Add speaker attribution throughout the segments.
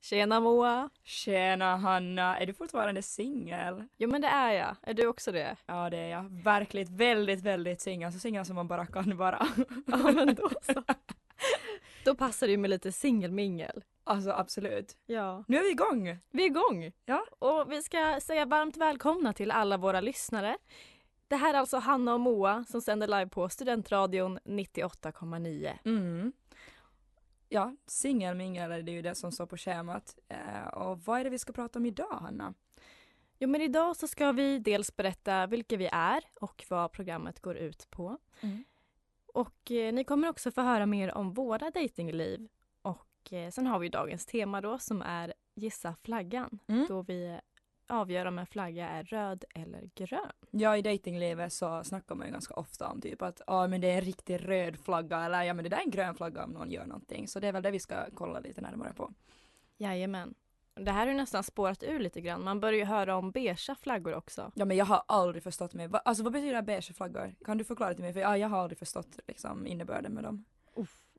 Speaker 1: Tjena Moa!
Speaker 2: Tjena Hanna, är du fortfarande singel?
Speaker 1: Jo men det är jag. Är du också det?
Speaker 2: Ja det är jag, verkligt väldigt väldigt singel, så singel som man bara kan vara.
Speaker 1: Ja men då så. Då passar det ju med lite singelmingel.
Speaker 2: Alltså absolut.
Speaker 1: Ja.
Speaker 2: Nu är vi igång!
Speaker 1: Vi är igång!
Speaker 2: Ja.
Speaker 1: Och vi ska säga varmt välkomna till alla våra lyssnare. Det här är alltså Hanna och Moa som sänder live på Studentradion 98,9.
Speaker 2: Mm. Ja, singelmingel är det ju det som står på schemat. Eh, och vad är det vi ska prata om idag Hanna?
Speaker 1: Jo men idag så ska vi dels berätta vilka vi är och vad programmet går ut på.
Speaker 2: Mm.
Speaker 1: Och eh, ni kommer också få höra mer om våra datingliv. Och eh, sen har vi ju dagens tema då som är gissa flaggan.
Speaker 2: Mm.
Speaker 1: Då vi avgör om en flagga är röd eller grön.
Speaker 2: Ja i datinglivet så snackar man ju ganska ofta om typ att ja men det är en riktig röd flagga eller ja men det där är en grön flagga om någon gör någonting. Så det är väl det vi ska kolla lite närmare på.
Speaker 1: Jajamän. Det här har ju nästan spårat ur lite grann. Man börjar ju höra om beiga flaggor också.
Speaker 2: Ja men jag har aldrig förstått mig. Va, alltså vad betyder beige flaggor? Kan du förklara till mig? För ja, jag har aldrig förstått liksom innebörden med dem.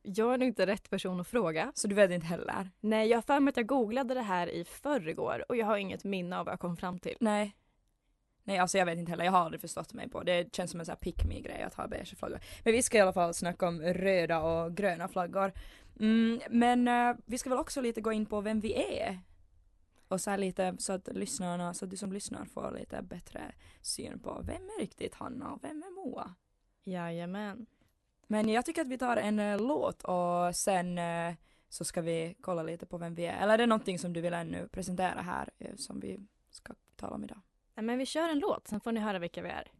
Speaker 1: Jag är nog inte rätt person att fråga.
Speaker 2: Så du vet inte heller?
Speaker 1: Nej, jag har för mig att jag googlade det här i förrgår och jag har inget minne av vad jag kom fram till.
Speaker 2: Nej. Nej alltså jag vet inte heller, jag har aldrig förstått mig på det. känns som en sån här pick me grej att ha beige flaggor. Men vi ska i alla fall snacka om röda och gröna flaggor. Mm, men eh, vi ska väl också lite gå in på vem vi är. Och så här lite så att lyssnarna, så att du som lyssnar får lite bättre syn på vem är riktigt Hanna och vem är Moa.
Speaker 1: Jajamän.
Speaker 2: Men jag tycker att vi tar en eh, låt och sen eh, så ska vi kolla lite på vem vi är. Eller är det någonting som du vill ännu presentera här eh, som vi ska tala om idag? Mm.
Speaker 1: Nej, men vi kör en låt, sen får ni höra vilka vi är.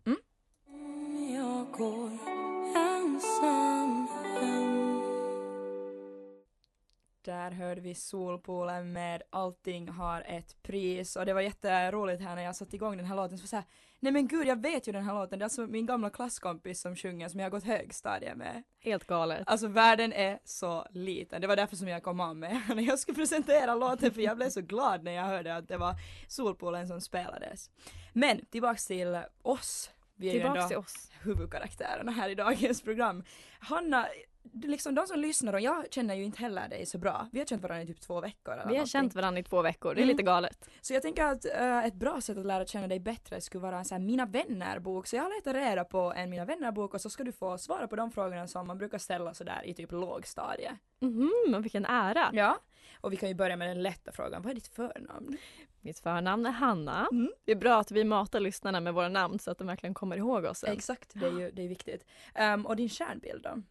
Speaker 2: Där hörde vi Solpoolen med Allting har ett pris och det var jätteroligt här när jag satte igång den här låten så var jag så här, nej men gud jag vet ju den här låten, det är alltså min gamla klasskompis som sjunger som jag har gått högstadiet med.
Speaker 1: Helt galet.
Speaker 2: Alltså världen är så liten, det var därför som jag kom av med när jag skulle presentera låten för jag blev så glad när jag hörde att det var Solpoolen som spelades. Men tillbaks till oss. Vi är ju
Speaker 1: Tillbaks
Speaker 2: ändå-
Speaker 1: till oss.
Speaker 2: huvudkaraktärerna här i dagens program. Hanna, du liksom de som lyssnar och jag känner ju inte heller dig så bra. Vi har känt varandra i typ två veckor eller
Speaker 1: Vi har
Speaker 2: någonting.
Speaker 1: känt varandra i två veckor, det är
Speaker 2: Mm.
Speaker 1: lite galet.
Speaker 2: Så jag tänker att eh, ett bra sätt att lära känna dig bättre skulle vara en sån här mina vänner-bok. Så jag har letat reda på en mina vänner-bok och så ska du få svara på de frågorna som man brukar ställa sådär i typ lågstadie. Mm-hmm,
Speaker 1: Mhm, och vilken ära.
Speaker 2: Ja. Och vi kan ju börja med den lätta frågan, vad är ditt förnamn?
Speaker 1: Mitt förnamn är Hanna.
Speaker 2: Mm.
Speaker 1: Det är bra att vi matar lyssnarna med våra namn så att de verkligen kommer ihåg oss. sen.
Speaker 2: Exakt, det är ju det är viktigt. Ehm, och din kärnbild då?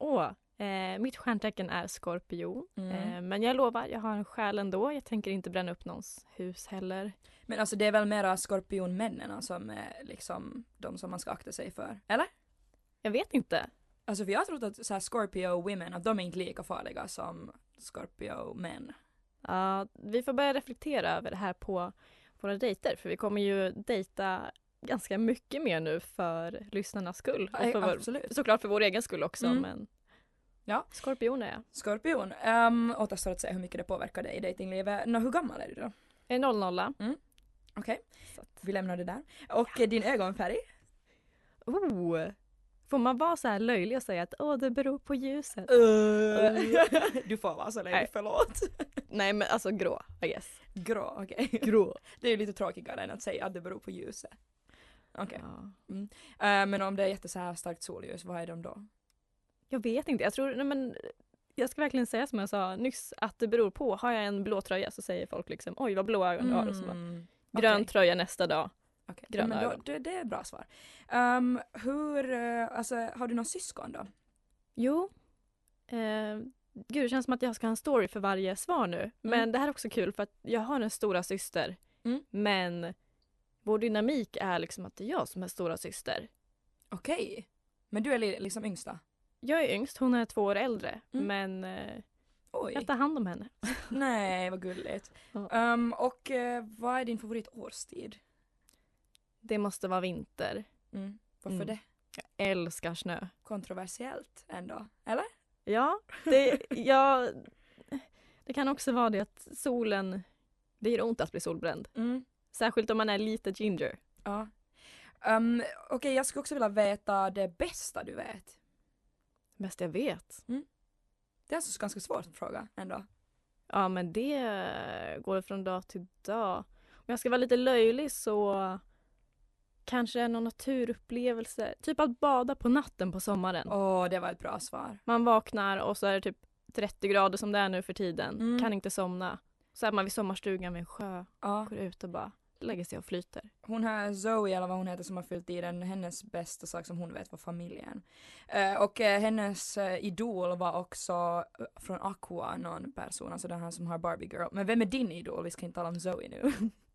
Speaker 1: Åh, eh, mitt stjärntecken är skorpion.
Speaker 2: Mm.
Speaker 1: Eh, men jag lovar, jag har en själ ändå. Jag tänker inte bränna upp någons hus heller.
Speaker 2: Men alltså det är väl mera skorpionmännen som är liksom de som man ska akta sig för, eller?
Speaker 1: Jag vet inte.
Speaker 2: Alltså för jag har trott att så här Scorpio women, att de är inte lika farliga som Scorpio män.
Speaker 1: Ja, vi får börja reflektera över det här på våra dejter för vi kommer ju dejta ganska mycket mer nu för lyssnarnas skull. Och
Speaker 2: Nej,
Speaker 1: för vår,
Speaker 2: absolut.
Speaker 1: såklart för vår egen skull också
Speaker 2: Mm.
Speaker 1: men
Speaker 2: Ja.
Speaker 1: skorpion är jag.
Speaker 2: Skorpion, um, återstår att se hur mycket det påverkar dig i dejtinglivet. Nå, hur gammal är du då?
Speaker 1: Jag är 00.
Speaker 2: Okej,
Speaker 1: Så att,
Speaker 2: vi lämnar det där. Och eh, din ögonfärg?
Speaker 1: oh, får man vara så här löjlig och säga att åh det beror på ljuset?
Speaker 2: du får vara så länge,
Speaker 1: Nej.
Speaker 2: förlåt.
Speaker 1: Nej men alltså grå, I guess.
Speaker 2: Grå, okej.
Speaker 1: Grå.
Speaker 2: Det är ju lite tråkigare än att säga att det beror på ljuset. Okej,
Speaker 1: Ja.
Speaker 2: Eh, men om det är jätte så här starkt solljus, vad är de då?
Speaker 1: Jag vet inte, jag tror, nej men jag ska verkligen säga som jag sa nyss att det beror på. Har jag en blå tröja så säger folk liksom oj vad blå ögon du har och så bara, grön
Speaker 2: Mm, okej.
Speaker 1: tröja nästa dag.
Speaker 2: Okej,
Speaker 1: Mm. Gröna
Speaker 2: men då,
Speaker 1: ögon.
Speaker 2: det, det är bra svar. Ehm, hur, eh, alltså har du någon syskon då?
Speaker 1: Jo. Eh, gud, det känns som att jag ska ha en story för varje svar nu. Men
Speaker 2: Mm.
Speaker 1: det här är också kul för att jag har en stora syster.
Speaker 2: Mm.
Speaker 1: Men vår dynamik är liksom att det är jag som är stora syster.
Speaker 2: Okej. Men du är li- liksom yngsta?
Speaker 1: Jag är yngst, hon är två år äldre.
Speaker 2: Mm.
Speaker 1: Men eh,
Speaker 2: Oj.
Speaker 1: jag tar hand om henne.
Speaker 2: Nej, vad gulligt.
Speaker 1: Ja.
Speaker 2: Ehm, och eh, vad är din favoritårstid?
Speaker 1: Det måste vara vinter.
Speaker 2: Mm. Varför
Speaker 1: Mm.
Speaker 2: det?
Speaker 1: Jag älskar snö.
Speaker 2: Kontroversiellt ändå, eller?
Speaker 1: Ja, det, jag, det kan också vara det att solen, det gör ont att bli solbränd. Särskilt om man är lite ginger.
Speaker 2: Ja. Ehm, Okej, jag skulle också vilja veta det bästa du vet.
Speaker 1: Bäst jag vet.
Speaker 2: Det är alltså ganska svårt att fråga ändå.
Speaker 1: Ja men det går från dag till dag. Om jag ska vara lite löjlig så kanske det är någon naturupplevelse. Typ att bada på natten på sommaren.
Speaker 2: Åh, det var ett bra svar.
Speaker 1: Man vaknar och så är det typ 30 grader som det är nu för tiden.
Speaker 2: Mm.
Speaker 1: Kan inte somna. Så är man vid sommarstugan vid en sjö.
Speaker 2: Ja.
Speaker 1: Går ut och bara lägger sig och flyter.
Speaker 2: Hon här Zoe eller vad hon heter som har fyllt i den, hennes bästa sak som hon vet var familjen. Eh, och eh, hennes eh, idol var också eh, från Aqua, någon person, alltså den här som har Barbie Girl. Men vem är din idol? Vi ska inte tala om Zoe nu.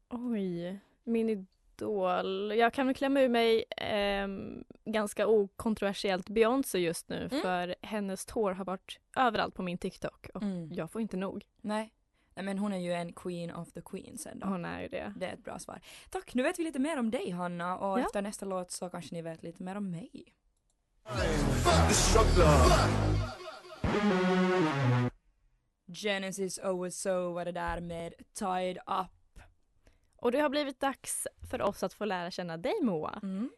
Speaker 1: Oj, min idol. Jag kan väl klämma ur mig ehm, ganska okontroversiellt Beyoncé just nu
Speaker 2: Mm.
Speaker 1: för hennes tår har varit överallt på min TikTok och
Speaker 2: Mm.
Speaker 1: jag får inte nog.
Speaker 2: Nej. Nej, men hon är ju en queen of the queens ändå.
Speaker 1: Hon är ju det.
Speaker 2: Det är ett bra svar. Tack, nu vet vi lite mer om dig Hanna och
Speaker 1: Ja.
Speaker 2: efter nästa låt så kanske ni vet lite mer om mig. Genesis oh, OSO var det där med Tied Up.
Speaker 1: Och det har blivit dags för oss att få lära känna dig Moa.
Speaker 2: Mm. Det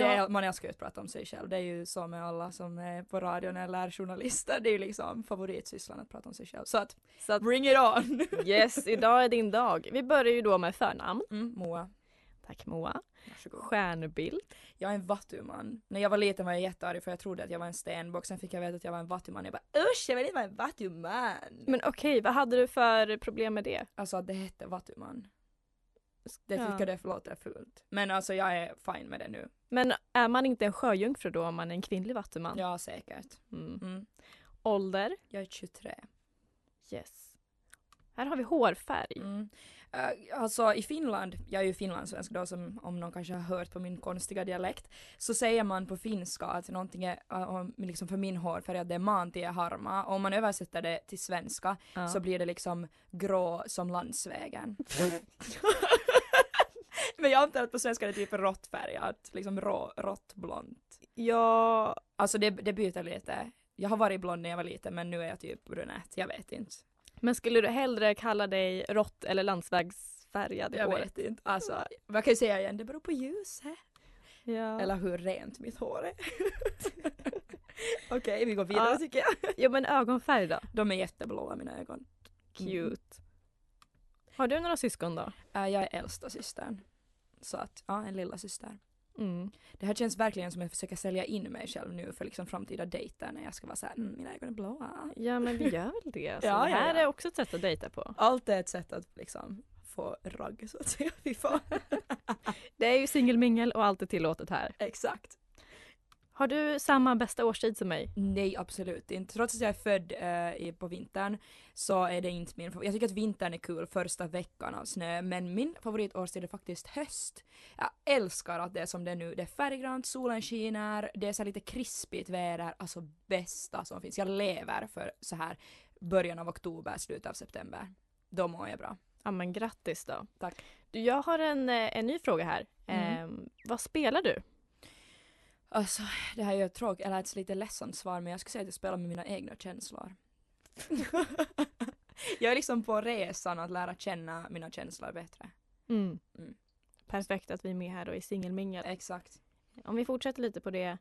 Speaker 1: Mm. Ja,
Speaker 2: är, man älskar ju att prata om sig själv, det är ju så med alla som är på radion eller journalister, det är ju liksom favoritsysslan att prata om sig själv. Så att,
Speaker 1: så att,
Speaker 2: bring it on!
Speaker 1: yes, idag är din dag. Vi börjar ju då med förnamn.
Speaker 2: Mm, Moa,
Speaker 1: Tack Moa.
Speaker 2: varsågod.
Speaker 1: Stjärnbild.
Speaker 2: Jag är en vattuman. När jag var liten var jag jättearg för jag trodde att jag var en stenbock, sen fick jag veta att jag var en vattuman. Jag bara usch, jag vill inte vara en vattuman!
Speaker 1: Men okej, vad hade du för problem med det?
Speaker 2: Alltså att det hette vattuman. Det
Speaker 1: Ja.
Speaker 2: tycker jag det låter fult. Men alltså jag är fine med det nu.
Speaker 1: Men är man inte en sjöjungfru då om man är en kvinnlig vattuman?
Speaker 2: Ja, säkert.
Speaker 1: Mm.
Speaker 2: Mm.
Speaker 1: Ålder?
Speaker 2: Jag är 23.
Speaker 1: Yes. Här har vi hårfärg.
Speaker 2: Mm. Eh, alltså i Finland, jag är ju finlandssvensk då som om någon kanske har hört på min konstiga dialekt, så säger man på finska att någonting är, eh, om- liksom för min hårfärg att det är mantie harma och om man översätter det till svenska
Speaker 1: Ja.
Speaker 2: så blir det liksom grå som landsvägen. Men jag antar att på svenska är det typ råttfärgat, liksom rå, råttblont.
Speaker 1: Jag,
Speaker 2: Alltså det, det byter lite. Jag har varit blond när jag var liten men nu är jag typ brunett, jag vet inte.
Speaker 1: men skulle du hellre kalla dig rått eller landsvägsfärgad i
Speaker 2: Jag
Speaker 1: håret?
Speaker 2: vet inte. Alltså, vad kan jag säga igen, det beror på ljuset.
Speaker 1: Ja.
Speaker 2: Eller hur rent mitt hår är. Okej, vi går
Speaker 1: Ja.
Speaker 2: vidare tycker jag.
Speaker 1: Jo men ögonfärg då?
Speaker 2: De är jätteblåa mina ögon.
Speaker 1: Cute. Har du några syskon då?
Speaker 2: Äh, jag är äldsta systern. Så att, ja, en lilla syster.
Speaker 1: Mm.
Speaker 2: Det här känns verkligen som att jag försöker sälja in mig själv nu för liksom framtida dejter när jag ska vara såhär, mm, mina ögon är blåa.
Speaker 1: Ja men vi gör väl det. Alltså.
Speaker 2: Ja,
Speaker 1: det
Speaker 2: ja,
Speaker 1: här
Speaker 2: ja.
Speaker 1: är också ett sätt att dejta på.
Speaker 2: Allt är ett sätt att liksom få ragg så att säga. Fy fan.
Speaker 1: Det är ju singelmingel och allt är tillåtet här.
Speaker 2: Exakt.
Speaker 1: Har du samma bästa årstid som mig?
Speaker 2: Nej, absolut inte. Trots att jag är född eh, i- på vintern så är det inte min favorit. Jag tycker att vintern är kul första veckan av snö men min favoritårstid är faktiskt höst. Jag älskar att det är som det är nu. Det är färggrant, solen skiner, det är så här lite krispigt väder. Alltså bästa som finns. Jag lever för så här början av oktober, slutet av september. Då mår jag bra.
Speaker 1: Ja men grattis då.
Speaker 2: Tack.
Speaker 1: Du, jag har en, eh, en ny fråga här.
Speaker 2: Mm.
Speaker 1: Ehm, vad spelar du?
Speaker 2: Alltså det här är ju ett tråkigt, eller ett lite ledsamt svar men jag skulle säga att jag spelar med mina egna känslor. jag är liksom på resan att lära känna mina känslor bättre. Mm.
Speaker 1: Perfekt att vi är med här då i singelmingel.
Speaker 2: Exakt.
Speaker 1: Om vi fortsätter lite på det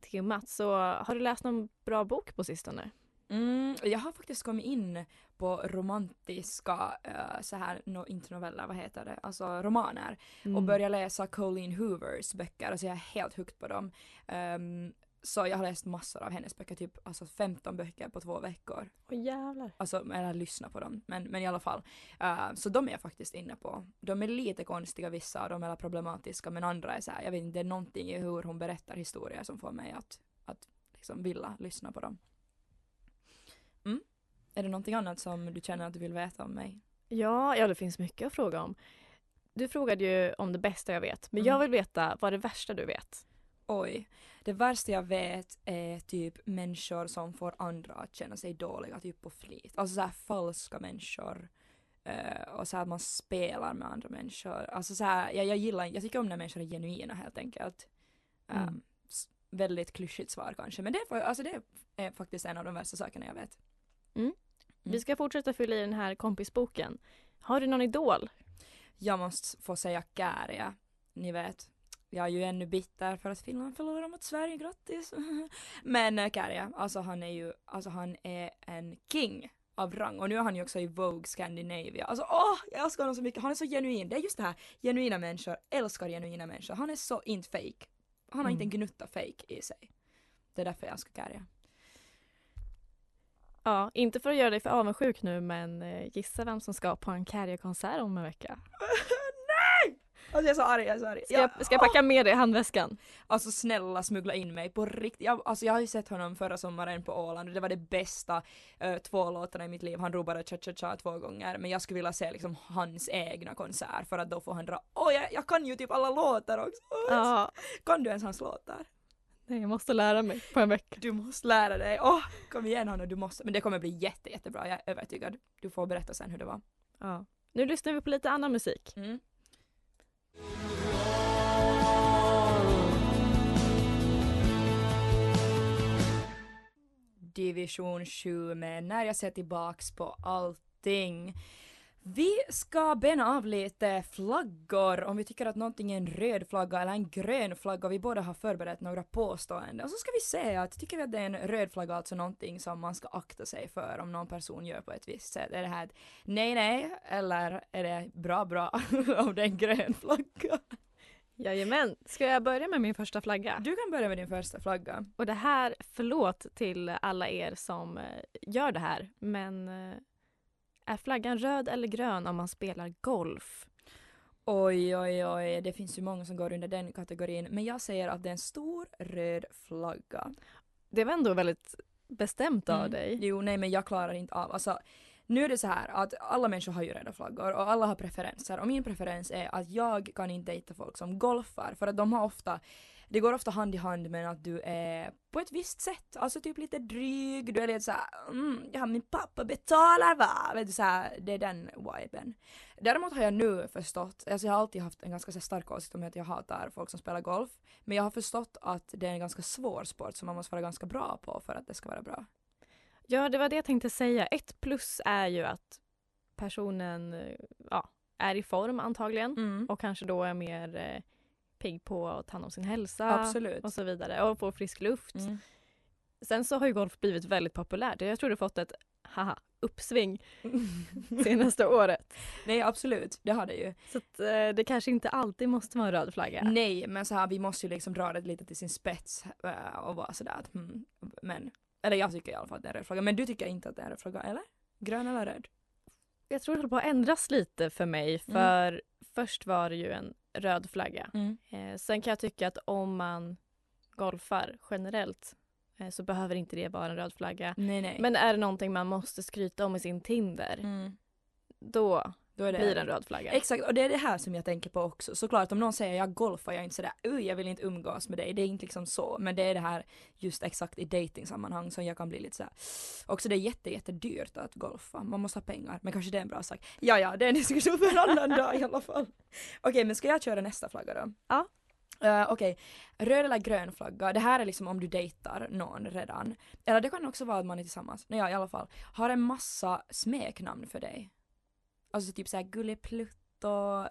Speaker 1: temat så har du läst någon bra bok på sistone?
Speaker 2: Mm, jag har faktiskt kommit in på romantiska, eh, så här, no, inte noveller, vad heter det, alltså romaner.
Speaker 1: Mm.
Speaker 2: och började läsa Colleen Hoovers böcker, alltså jag är helt hooked på dem. Ehm, så jag har läst massor av hennes böcker, typ alltså 15 böcker på två veckor.
Speaker 1: Åh jävlar.
Speaker 2: Alltså, eller lyssna på dem. Men, men i alla fall. Eh, så de är jag faktiskt inne på. De är lite konstiga vissa, de är problematiska, men andra är så här, jag vet inte, det är någonting i hur hon berättar historier som får mig att, att liksom vilja lyssna på dem. Mm. Är det någonting annat som du känner att du vill veta om mig?
Speaker 1: Ja, ja, det finns mycket att fråga om. Du frågade ju om det bästa jag vet, men
Speaker 2: Mm.
Speaker 1: jag vill veta vad det värsta du vet.
Speaker 2: Oj, det värsta jag vet är typ människor som får andra att känna sig dåliga typ på flit. Alltså så här falska människor. Eh, och så här att man spelar med andra människor. Alltså så här, jag, jag gillar, jag tycker om när människor är genuina helt enkelt. Eh,
Speaker 1: Mm.
Speaker 2: s- väldigt klyschigt svar kanske men det, får- alltså det är faktiskt en av de värsta sakerna jag vet.
Speaker 1: Vi ska fortsätta fylla i den här kompisboken. Har du någon idol?
Speaker 2: Jag måste få säga Kääriä, ni vet. Jag är ju ännu bitter för att Finland förlorade mot Sverige, grattis! Men eh, Kääriä, alltså han är ju, alltså han är en king av rang och nu är han ju också i Vogue Scandinavia. Alltså åh, jag älskar honom så mycket, han är så genuin. Det är just det här, genuina människor älskar genuina människor. Han är så inte fake. Han har inte en gnutta fake i sig. Det är därför jag älskar Kääriä.
Speaker 1: Ja, inte för att göra dig för avundsjuk nu men eh, gissa vem som ska på en Carrier-konsert om en vecka.
Speaker 2: Nej! Alltså jag är så arg, jag är så arg.
Speaker 1: Ska, jag, ska jag packa med dig i handväskan?
Speaker 2: Alltså snälla smuggla in mig på riktigt. Jag, alltså jag har ju sett honom förra sommaren på Åland och det var det bästa eh, två låtarna i mitt liv. Han ropade cha-cha-cha två gånger men jag skulle vilja se liksom hans egna konsert för att då får han dra, åh jag, jag kan ju typ alla låtar också. Åh, jag-
Speaker 1: Ja,
Speaker 2: Kan du ens hans låtar?
Speaker 1: nej, jag måste lära mig på en vecka.
Speaker 2: Du måste lära dig, åh kom igen Hanna du måste. Men det kommer bli jätte jättebra, jag är övertygad. Du får berätta sen hur det var.
Speaker 1: Ja. Nu lyssnar vi på lite annan musik.
Speaker 2: Mm. Division 7 med När jag ser tillbaks på allting. Vi ska bena av lite flaggor om vi tycker att någonting är en röd flagga eller en grön flagga. Vi båda har förberett några påståenden. Och så ska vi se att tycker vi att det är en röd flagga, alltså någonting som man ska akta sig för om någon person gör på ett visst sätt. Är det här ett nej nej eller är det bra bra om det är en grön flagga?
Speaker 1: Jajamän, ska jag börja med min första flagga?
Speaker 2: Du kan börja med din första flagga.
Speaker 1: Och det här, förlåt till alla er som eh, gör det här, men eh, är flaggan röd eller grön om man spelar golf?
Speaker 2: Oj, oj, oj, det finns ju många som går under den kategorin. Men jag säger att det är en stor röd flagga.
Speaker 1: Det var ändå väldigt bestämt av
Speaker 2: Mm.
Speaker 1: dig.
Speaker 2: Jo, nej men jag klarar inte av. Alltså, nu är det så här att alla människor har ju röda flaggor och alla har preferenser. Och min preferens är att jag kan inte dejta folk som golfar för att de har ofta det går ofta hand i hand med att du är på ett visst sätt, alltså typ lite dryg, du är lite såhär mm, ja min pappa betalar va, vet du såhär, det är den viben. Däremot har jag nu förstått, alltså jag har alltid haft en ganska så här stark åsikt om att jag hatar folk som spelar golf, men jag har förstått att det är en ganska svår sport som man måste vara ganska bra på för att det ska vara bra.
Speaker 1: Ja, det var det jag tänkte säga. Ett plus är ju att personen eh, ja, är i form antagligen och kanske då är mer eh, pigg på att ta hand om sin hälsa
Speaker 2: Absolut.
Speaker 1: och så vidare och få frisk luft. Sen så har ju golf blivit väldigt populärt. Jag tror det fått ett haha, uppsving senaste året.
Speaker 2: Nej absolut, det har det ju.
Speaker 1: Så att, eh, det kanske inte alltid måste vara en röd flagga.
Speaker 2: Nej men så här vi måste ju liksom dra det lite till sin spets eh, och vara sådär att hmm, men. Eller jag tycker i alla fall att det är en röd flagga men du tycker inte att det är en röd flagga eller? Grön eller röd?
Speaker 1: Jag tror det håller på att ändras lite för mig för först var det ju en röd flagga. Eh, sen kan jag tycka att om man golfar generellt eh, så behöver inte det vara en röd flagga.
Speaker 2: Nej nej.
Speaker 1: Men är det någonting man måste skryta om i sin Tinder
Speaker 2: Mm.
Speaker 1: då
Speaker 2: Då är det
Speaker 1: blir det en röd flagga.
Speaker 2: Exakt och det är det här som jag tänker på också. Såklart om någon säger jag golfar, jag är inte sådär "Uj, jag vill inte umgås med dig. Det är inte liksom så. Men det är det här just exakt i datingsammanhang som jag kan bli lite såhär. Också det är jätte, jättedyrt att golfa. Man måste ha pengar. Men kanske det är en bra sak. Ja ja, det är en diskussion för en annan dag i alla fall. Okej men ska jag köra nästa flagga då?
Speaker 1: Ja.
Speaker 2: Eh, Okej, röd eller grön flagga. Det här är liksom om du dejtar någon redan. Eller det kan också vara att man är tillsammans. Nej, ja, i alla fall. Har en massa smeknamn för dig. Alltså typ såhär gulleplutt och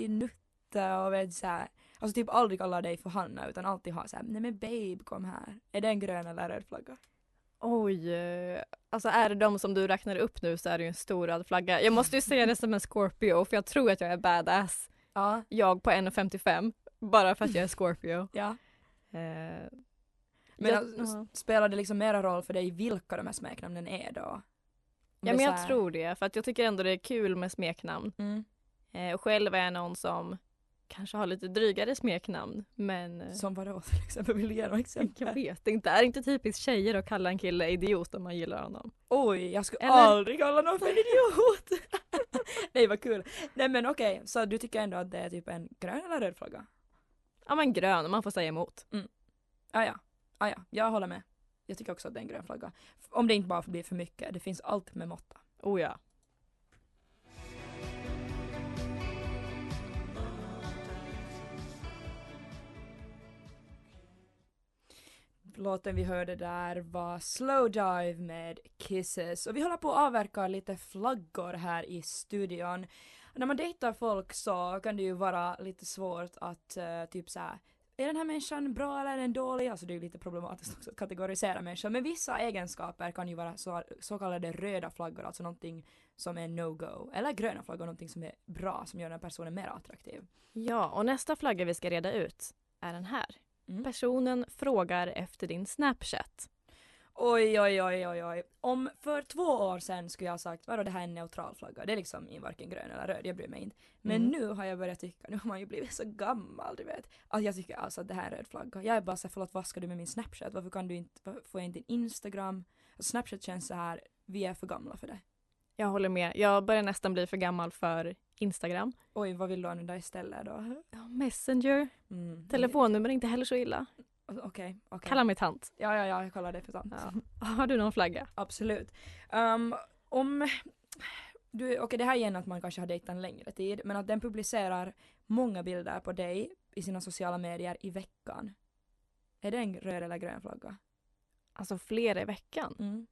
Speaker 2: snuttinutte och vet såhär. Alltså typ aldrig kalla dig för Hanna utan alltid ha såhär, nej men babe kom här. Är det en grön eller röd flagga?
Speaker 1: Oj, eh, alltså är det de som du räknar upp nu så är det ju en stor röd flagga. Jag måste ju säga det som en Scorpio för jag tror att jag är badass.
Speaker 2: Ja,
Speaker 1: Jag på 1,55 bara för att jag är Scorpio.
Speaker 2: ja.
Speaker 1: Eh,
Speaker 2: Men
Speaker 1: Jag-
Speaker 2: alltså, s-
Speaker 1: ja.
Speaker 2: spelar det liksom mera roll för dig vilka de här smeknamnen är då? Om det
Speaker 1: Ja
Speaker 2: är
Speaker 1: men
Speaker 2: såhär-
Speaker 1: jag tror det, för att jag tycker ändå det är kul med smeknamn.
Speaker 2: Mm.
Speaker 1: Eh, och själv är jag någon som kanske har lite drygare smeknamn men eh,
Speaker 2: Som vadå till exempel? Vill du ge några
Speaker 1: jag
Speaker 2: exempel?
Speaker 1: vet inte. Är det inte typiskt tjejer att kalla en kille idiot om man gillar honom?
Speaker 2: Oj, jag skulle
Speaker 1: Eller-
Speaker 2: aldrig kalla någon för en idiot! nej vad kul. Nej men okej, så du tycker ändå att det är typ en grön eller röd flagga?
Speaker 1: Ja men grön, man får säga emot.
Speaker 2: Ah, ja. Ah, ja, jag håller med. Jag tycker också att det är en grön flagga. F- Om det inte bara blir för mycket, det finns allt med måtta.
Speaker 1: Oh ja.
Speaker 2: Låten vi hörde där var Slow Dive med Kisses och vi håller på att avverka lite flaggor här i studion. När man dejtar folk så kan det ju vara lite svårt att eh, typ så här är den här människan bra eller är den dålig? Alltså det är ju lite problematiskt också att kategorisera människor men vissa egenskaper kan ju vara så, så kallade röda flaggor, alltså någonting som är no-go eller gröna flaggor, någonting som är bra som gör den här personen mer attraktiv.
Speaker 1: Ja, och nästa flagga vi ska reda ut är den här.
Speaker 2: Mm.
Speaker 1: Personen frågar efter din Snapchat.
Speaker 2: Oj, oj, oj, oj, oj. Om för två år sedan skulle jag ha sagt vadå det här är en neutral flagga, det är liksom i varken grön eller röd, jag bryr mig inte. Men
Speaker 1: Mm.
Speaker 2: nu har jag börjat tycka, nu har man ju blivit så gammal du vet. Att jag tycker alltså att det här är en röd flagga. Jag är bara såhär förlåt vad ska du med min Snapchat, varför kan du inte, varför får jag inte en Instagram? Alltså, Snapchat känns så här vi är för gamla för det.
Speaker 1: Jag håller med. Jag börjar nästan bli för gammal för Instagram.
Speaker 2: Oj, vad vill du använda istället då?
Speaker 1: Ja, Messenger.
Speaker 2: Mm.
Speaker 1: Telefonnummer är inte heller så illa.
Speaker 2: Okej, okej.
Speaker 1: Kalla mig tant.
Speaker 2: Ja, ja, ja, jag kallar det för sant.
Speaker 1: Ja. Har du någon flagga?
Speaker 2: Absolut. Ehm, om... Du, okej, det här är igen att man kanske har dejtat en längre tid, men att den publicerar många bilder på dig i sina sociala medier i veckan. Är det en röd eller grön flagga?
Speaker 1: Alltså flera i veckan.
Speaker 2: Mm.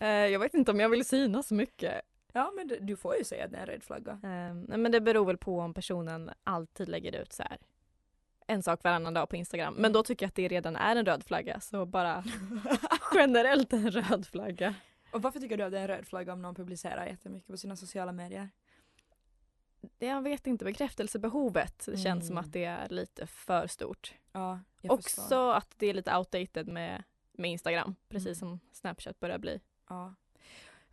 Speaker 1: Eh, jag vet inte om jag vill synas så mycket.
Speaker 2: Ja, men du, du får ju säga att det är en röd flagga.
Speaker 1: Eh, nej, men det beror väl på om personen alltid lägger ut så här en sak varannan dag på Instagram. Men då tycker jag att det redan är en röd flagga så bara generellt en röd flagga.
Speaker 2: Och varför tycker du att det är en röd flagga om någon publicerar jättemycket på sina sociala medier?
Speaker 1: Jag vet inte, bekräftelsebehovet känns
Speaker 2: Mm.
Speaker 1: som att det är lite för stort.
Speaker 2: Ja, jag förstår.
Speaker 1: Också att det är lite outdated med, med Instagram, precis som Snapchat börjar bli.
Speaker 2: Ja.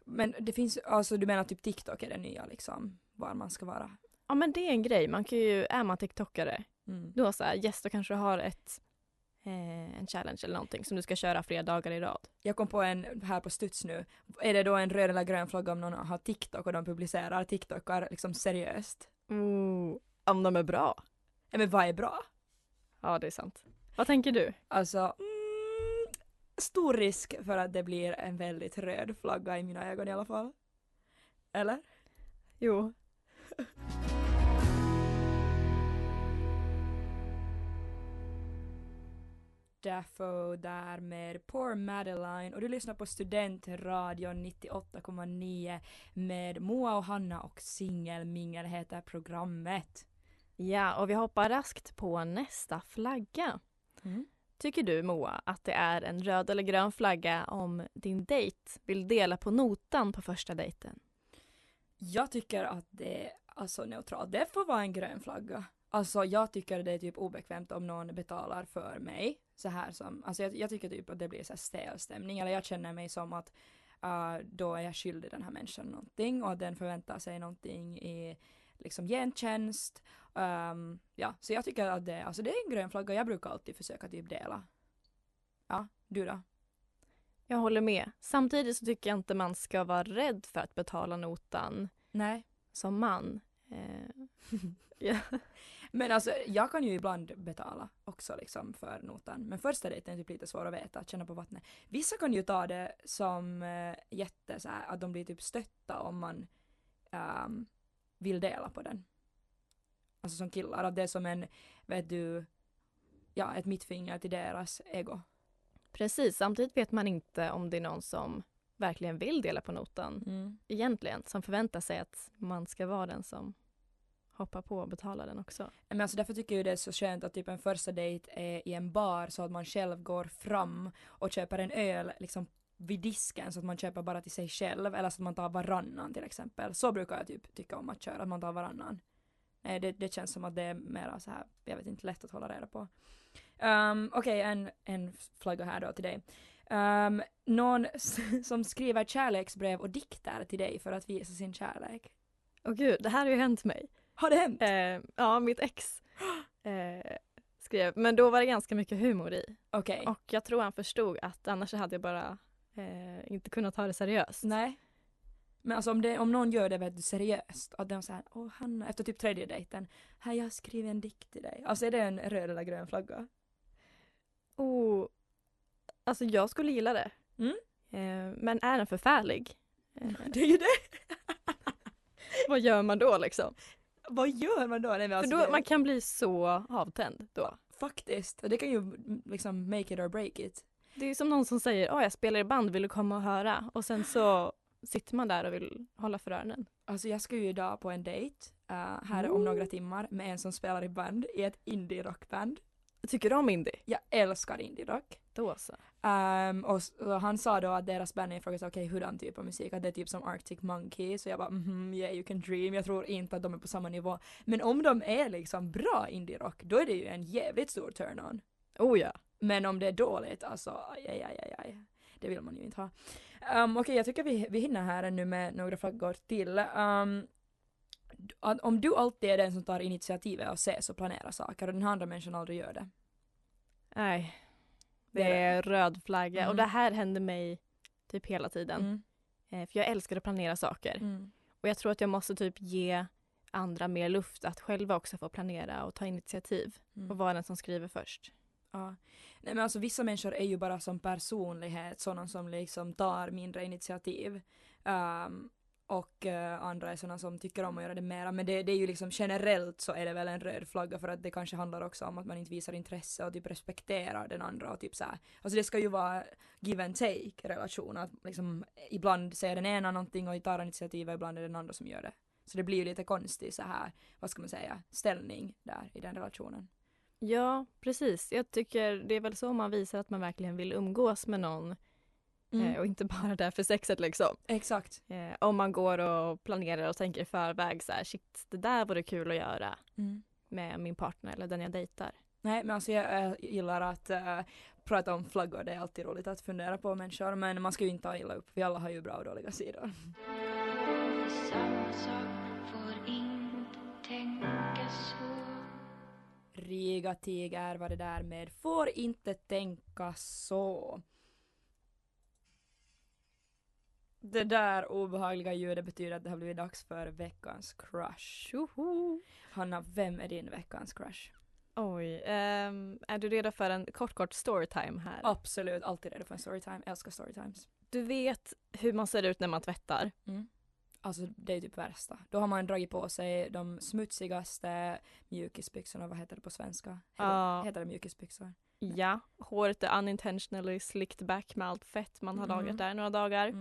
Speaker 2: Men det finns, alltså du menar typ TikTok är det nya liksom, var man ska vara?
Speaker 1: Ja men det är en grej, man kan ju, är man TikTokare,
Speaker 2: Mm.
Speaker 1: då så här, yes då kanske du har ett, eh, en challenge eller någonting som du ska köra flera dagar i rad.
Speaker 2: Jag kom på en här på studs nu. Är det då en röd eller grön flagga om någon har TikTok och de publicerar TikTokar liksom seriöst?
Speaker 1: Mm. Om de är bra.
Speaker 2: Ja, men vad är bra?
Speaker 1: Ja det är sant. Vad tänker du?
Speaker 2: Alltså, mm, stor risk för att det blir en väldigt röd flagga i mina ögon i alla fall. Eller?
Speaker 1: Jo.
Speaker 2: Daffo där med Poor Madeline och du lyssnar på Studentradion 98,9 med Moa och Hanna och Singelmingel heter programmet.
Speaker 1: Ja och vi hoppar raskt på nästa flagga.
Speaker 2: Mm.
Speaker 1: Tycker du Moa att det är en röd eller grön flagga om din dejt vill dela på notan på första dejten?
Speaker 2: Jag tycker att det är alltså neutralt. Det får vara en grön flagga. Alltså jag tycker det är typ obekvämt om någon betalar för mig. Så här som, alltså jag, jag tycker typ att det blir så här stel stämning. Eller jag känner mig som att ah, då är jag skyldig den här människan någonting och att den förväntar sig någonting i liksom gentjänst. Ehm, ja, så jag tycker att det, alltså det är en grön flagga. Jag brukar alltid försöka typ dela. Ja, du då?
Speaker 1: Jag håller med. Samtidigt så tycker jag inte man ska vara rädd för att betala notan
Speaker 2: Nej.
Speaker 1: som man. Eh,
Speaker 2: Men alltså jag kan ju ibland betala också liksom för notan. Men första dejten är typ lite svår att veta, att känna på vattnet. Vissa kan ju ta det som eh, jätte så här, att de blir typ stötta om man ehm, vill dela på den. Alltså som killar, att det är som en, vet du, ja ett mittfinger till deras ego.
Speaker 1: precis, samtidigt vet man inte om det är någon som verkligen vill dela på notan egentligen, som förväntar sig att man ska vara den som hoppar på och betalar den också.
Speaker 2: Men alltså därför tycker jag det är så skönt att typ en första dejt är i en bar så att man själv går fram och köper en öl liksom vid disken så att man köper bara till sig själv eller så att man tar varannan till exempel. Så brukar jag typ tycka om att köra, att man tar varannan. Nej, det, det känns som att det är mera så här, jag vet inte, lätt att hålla reda på. Um, Okej, en, en flagga här då till dig. Ehm, någon s- som skriver kärleksbrev och dikter till dig för att visa sin kärlek.
Speaker 1: Åh gud, det här har ju hänt mig.
Speaker 2: Har det hänt?
Speaker 1: Eh, ja, mitt ex eh, skrev, men då var det ganska mycket humor i.
Speaker 2: Okej.
Speaker 1: Och jag tror han förstod att annars hade jag bara eh, inte kunnat ta det seriöst.
Speaker 2: Nej. Men alltså om, det, om någon gör det väldigt seriöst, att de såhär, åh Hanna, efter typ tredje dejten, här jag har skrivit en dikt till dig. Alltså är det en röd eller grön flagga?
Speaker 1: Oh, alltså jag skulle gilla det.
Speaker 2: Mm.
Speaker 1: Eh, men är den förfärlig? Eh,
Speaker 2: Det är ju det!
Speaker 1: vad gör man då liksom?
Speaker 2: Vad gör man då? Nej, men
Speaker 1: För
Speaker 2: alltså,
Speaker 1: då,
Speaker 2: det,
Speaker 1: man kan bli så avtänd då.
Speaker 2: Faktiskt. Och det kan ju liksom make it or break it.
Speaker 1: Det är som någon som säger åh jag spelar i band, vill du komma och höra? Och sen så sitter man där och vill hålla för öronen.
Speaker 2: Alltså jag ska ju idag på en dejt eh, här om några timmar med en som spelar i band i ett indie rockband.
Speaker 1: Tycker du om indie?
Speaker 2: Jag älskar indie rock.
Speaker 1: Då så.
Speaker 2: Ehm, och, s- och han sa då att deras band är frågade okej hurdan typ av musik, att det är typ som Arctic Monkeys så jag bara mhm, yeah you can dream, jag tror inte att de är på samma nivå. Men om de är liksom bra indie rock då är det ju en jävligt stor turn-on.
Speaker 1: Oh ja.
Speaker 2: Men om det är dåligt, alltså aj, aj, aj, aj, aj. Det vill man ju inte ha. Um, Okej, jag tycker vi, vi hinner här ännu med några flaggor till. Um, d- att om du alltid är den som tar initiativet och ses och planerar saker och den andra människan aldrig gör det.
Speaker 1: Nej.
Speaker 2: Det är
Speaker 1: Det är röd flagga.
Speaker 2: Mm.
Speaker 1: Och det här händer mig typ hela tiden.
Speaker 2: Mm.
Speaker 1: Eh, För jag älskar att planera saker.
Speaker 2: Mm.
Speaker 1: Och jag tror att jag måste typ ge andra mer luft att själva också få planera och ta initiativ.
Speaker 2: Mm.
Speaker 1: Och vara den som skriver först.
Speaker 2: Ja. Nej men alltså vissa människor är ju bara som personlighet sådana som liksom tar mindre initiativ. Ehm, och eh, andra är sådana som tycker om att göra det mera. Men det, det är ju liksom generellt så är det väl en röd flagga för att det kanske handlar också om att man inte visar intresse och typ respekterar den andra och typ så här. Alltså det ska ju vara give and take relation att liksom ibland säger den ena någonting och tar initiativ och ibland är det den andra som gör det. Så det blir ju lite konstig så här, vad ska man säga, ställning där i den relationen.
Speaker 1: Ja, precis. Jag tycker det är väl så man visar att man verkligen vill umgås med någon.
Speaker 2: Mm.
Speaker 1: Eh, och inte bara där för sexet liksom.
Speaker 2: Exakt.
Speaker 1: Eh, om man går och planerar och tänker i förväg så här, shit, det där vore kul att göra med min partner eller den jag dejtar.
Speaker 2: Nej men alltså jag eh, gillar att eh, prata om flaggor, det är alltid roligt att fundera på människor men man ska ju inte ta illa upp, vi alla har ju bra och dåliga sidor.
Speaker 3: Samma sak får inte tänka så
Speaker 2: Riga tiger var det där med, får inte tänka så. Det där obehagliga ljudet betyder att det har blivit dags för veckans crush.
Speaker 1: Tjoho!
Speaker 2: Hanna, vem är din veckans crush?
Speaker 1: Oj, ehm, är du redo för en kort kort storytime här?
Speaker 2: Absolut, alltid redo för en storytime, älskar storytimes.
Speaker 1: Du vet hur man ser ut när man tvättar?
Speaker 2: Alltså det är typ värsta. Då har man dragit på sig de smutsigaste mjukisbyxorna, vad heter det på svenska? Heter,
Speaker 1: Ja.
Speaker 2: heter det mjukisbyxor?
Speaker 1: Ja, håret är unintentionally slicked back med allt fett man har
Speaker 2: Mm.
Speaker 1: lagrat där några dagar.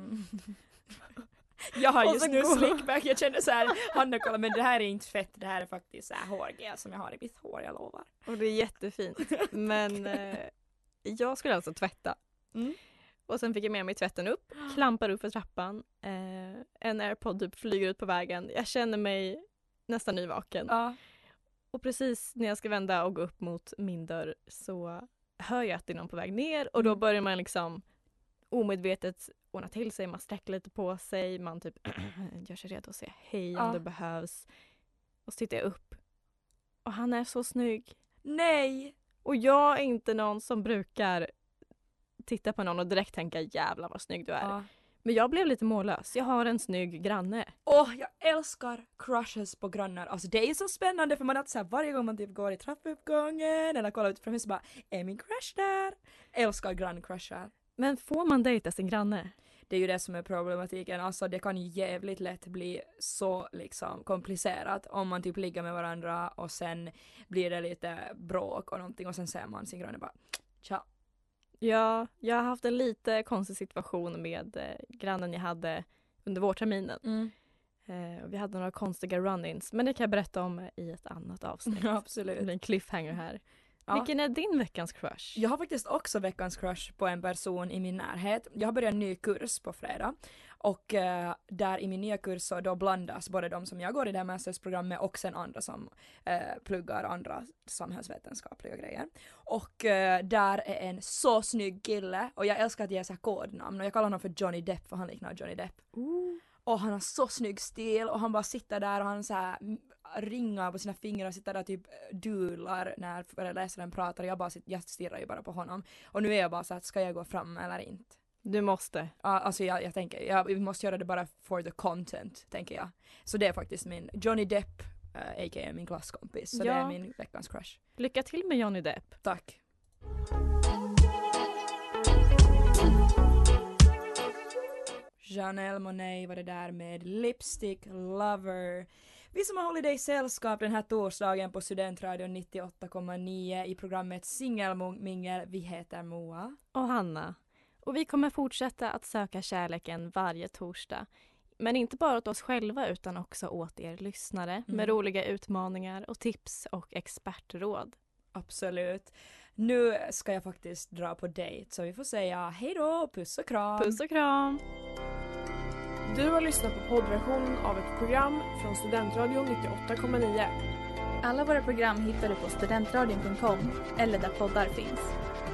Speaker 2: Jag har
Speaker 1: Och
Speaker 2: just
Speaker 1: så
Speaker 2: nu
Speaker 1: går-
Speaker 2: slickback, jag känner såhär, Hanna kolla men det här är inte fett, det här är faktiskt såhär hårgel som jag har i mitt hår, jag lovar.
Speaker 1: Och det är jättefint. Men eh, jag skulle alltså tvätta.
Speaker 2: Mm.
Speaker 1: Och sen fick jag med mig tvätten upp, klampar upp för trappan. Eh, en airpod typ flyger ut på vägen. Jag känner mig nästan nyvaken.
Speaker 2: Ja.
Speaker 1: Och precis när jag ska vända och gå upp mot min dörr så hör jag att det är någon på väg ner och då
Speaker 2: Mm.
Speaker 1: börjar man liksom omedvetet ordna till sig, man sträcker lite på sig, man typ gör sig redo att säga hej
Speaker 2: Ja.
Speaker 1: om det behövs. Och så tittar jag upp och han är så snygg.
Speaker 2: Nej!
Speaker 1: Och jag är inte någon som brukar titta på någon och direkt tänka jävla vad snygg du är.
Speaker 2: Ja.
Speaker 1: Men jag blev lite mållös. Jag har en snygg granne.
Speaker 2: Åh, jag älskar crushes på grannar. Alltså det är så spännande för man har så här, varje gång man typ går i trappuppgången eller kollar ut från huset bara är min crush där? Älskar granncrushar.
Speaker 1: Men får man dejta sin granne?
Speaker 2: Det är ju det som är problematiken, alltså det kan ju jävligt lätt bli så liksom komplicerat om man typ ligger med varandra och sen blir det lite bråk och någonting och sen ser man sin granne bara tja.
Speaker 1: Ja, jag har haft en lite konstig situation med eh, grannen jag hade under vårterminen.
Speaker 2: Mm.
Speaker 1: Eh, och vi hade några konstiga run-ins, men det kan jag berätta om i ett annat avsnitt.
Speaker 2: Ja,
Speaker 1: Det
Speaker 2: absolut.
Speaker 1: blir en cliffhanger här.
Speaker 2: Ja.
Speaker 1: Vilken är din veckans crush?
Speaker 2: Jag har faktiskt också veckans crush på en person i min närhet. Jag har börjat en ny kurs på fredag och eh, där i min nya kurs så då blandas både de som jag går i det här mastersprogrammet och sen andra som eh, pluggar andra samhällsvetenskapliga grejer. Och eh, där är en så snygg kille och jag älskar att ge så här kodnamn och jag kallar honom för Johnny Depp för han liknar Johnny Depp. Och han har så snygg stil och han bara sitter där och han så här mm, ringar på sina fingrar och sitter där och typ eh, dular när föreläsaren pratar jag bara sitter, jag stirrar ju bara på honom. Och nu är jag bara så här, ska jag gå fram eller inte?
Speaker 1: Du måste.
Speaker 2: Ja, Alltså jag, jag tänker, jag, vi måste göra det bara for the content, tänker jag. Så det är faktiskt min Johnny Depp, eh, a.k.a. min klasskompis. Så det är
Speaker 1: Ja.
Speaker 2: min veckans crush.
Speaker 1: Lycka till med Johnny Depp.
Speaker 2: Tack. Janelle Monet var det där med Lipstick Lover. Vi som har hållit dig sällskap den här torsdagen på Studentradion 98,9 i programmet Singelmingel. Vi heter Moa.
Speaker 1: och Hanna. Och vi kommer fortsätta att söka kärleken varje torsdag. Men inte bara åt oss själva utan också åt er lyssnare
Speaker 2: Mm.
Speaker 1: med roliga utmaningar och tips och expertråd.
Speaker 2: Absolut. Nu ska jag faktiskt dra på dejt så vi får säga hej då, puss och kram.
Speaker 1: Puss och kram!
Speaker 4: Du har lyssnat på poddversionen av ett program från Studentradion 98,9.
Speaker 5: Alla våra program hittar du på studentradion.com eller där poddar finns.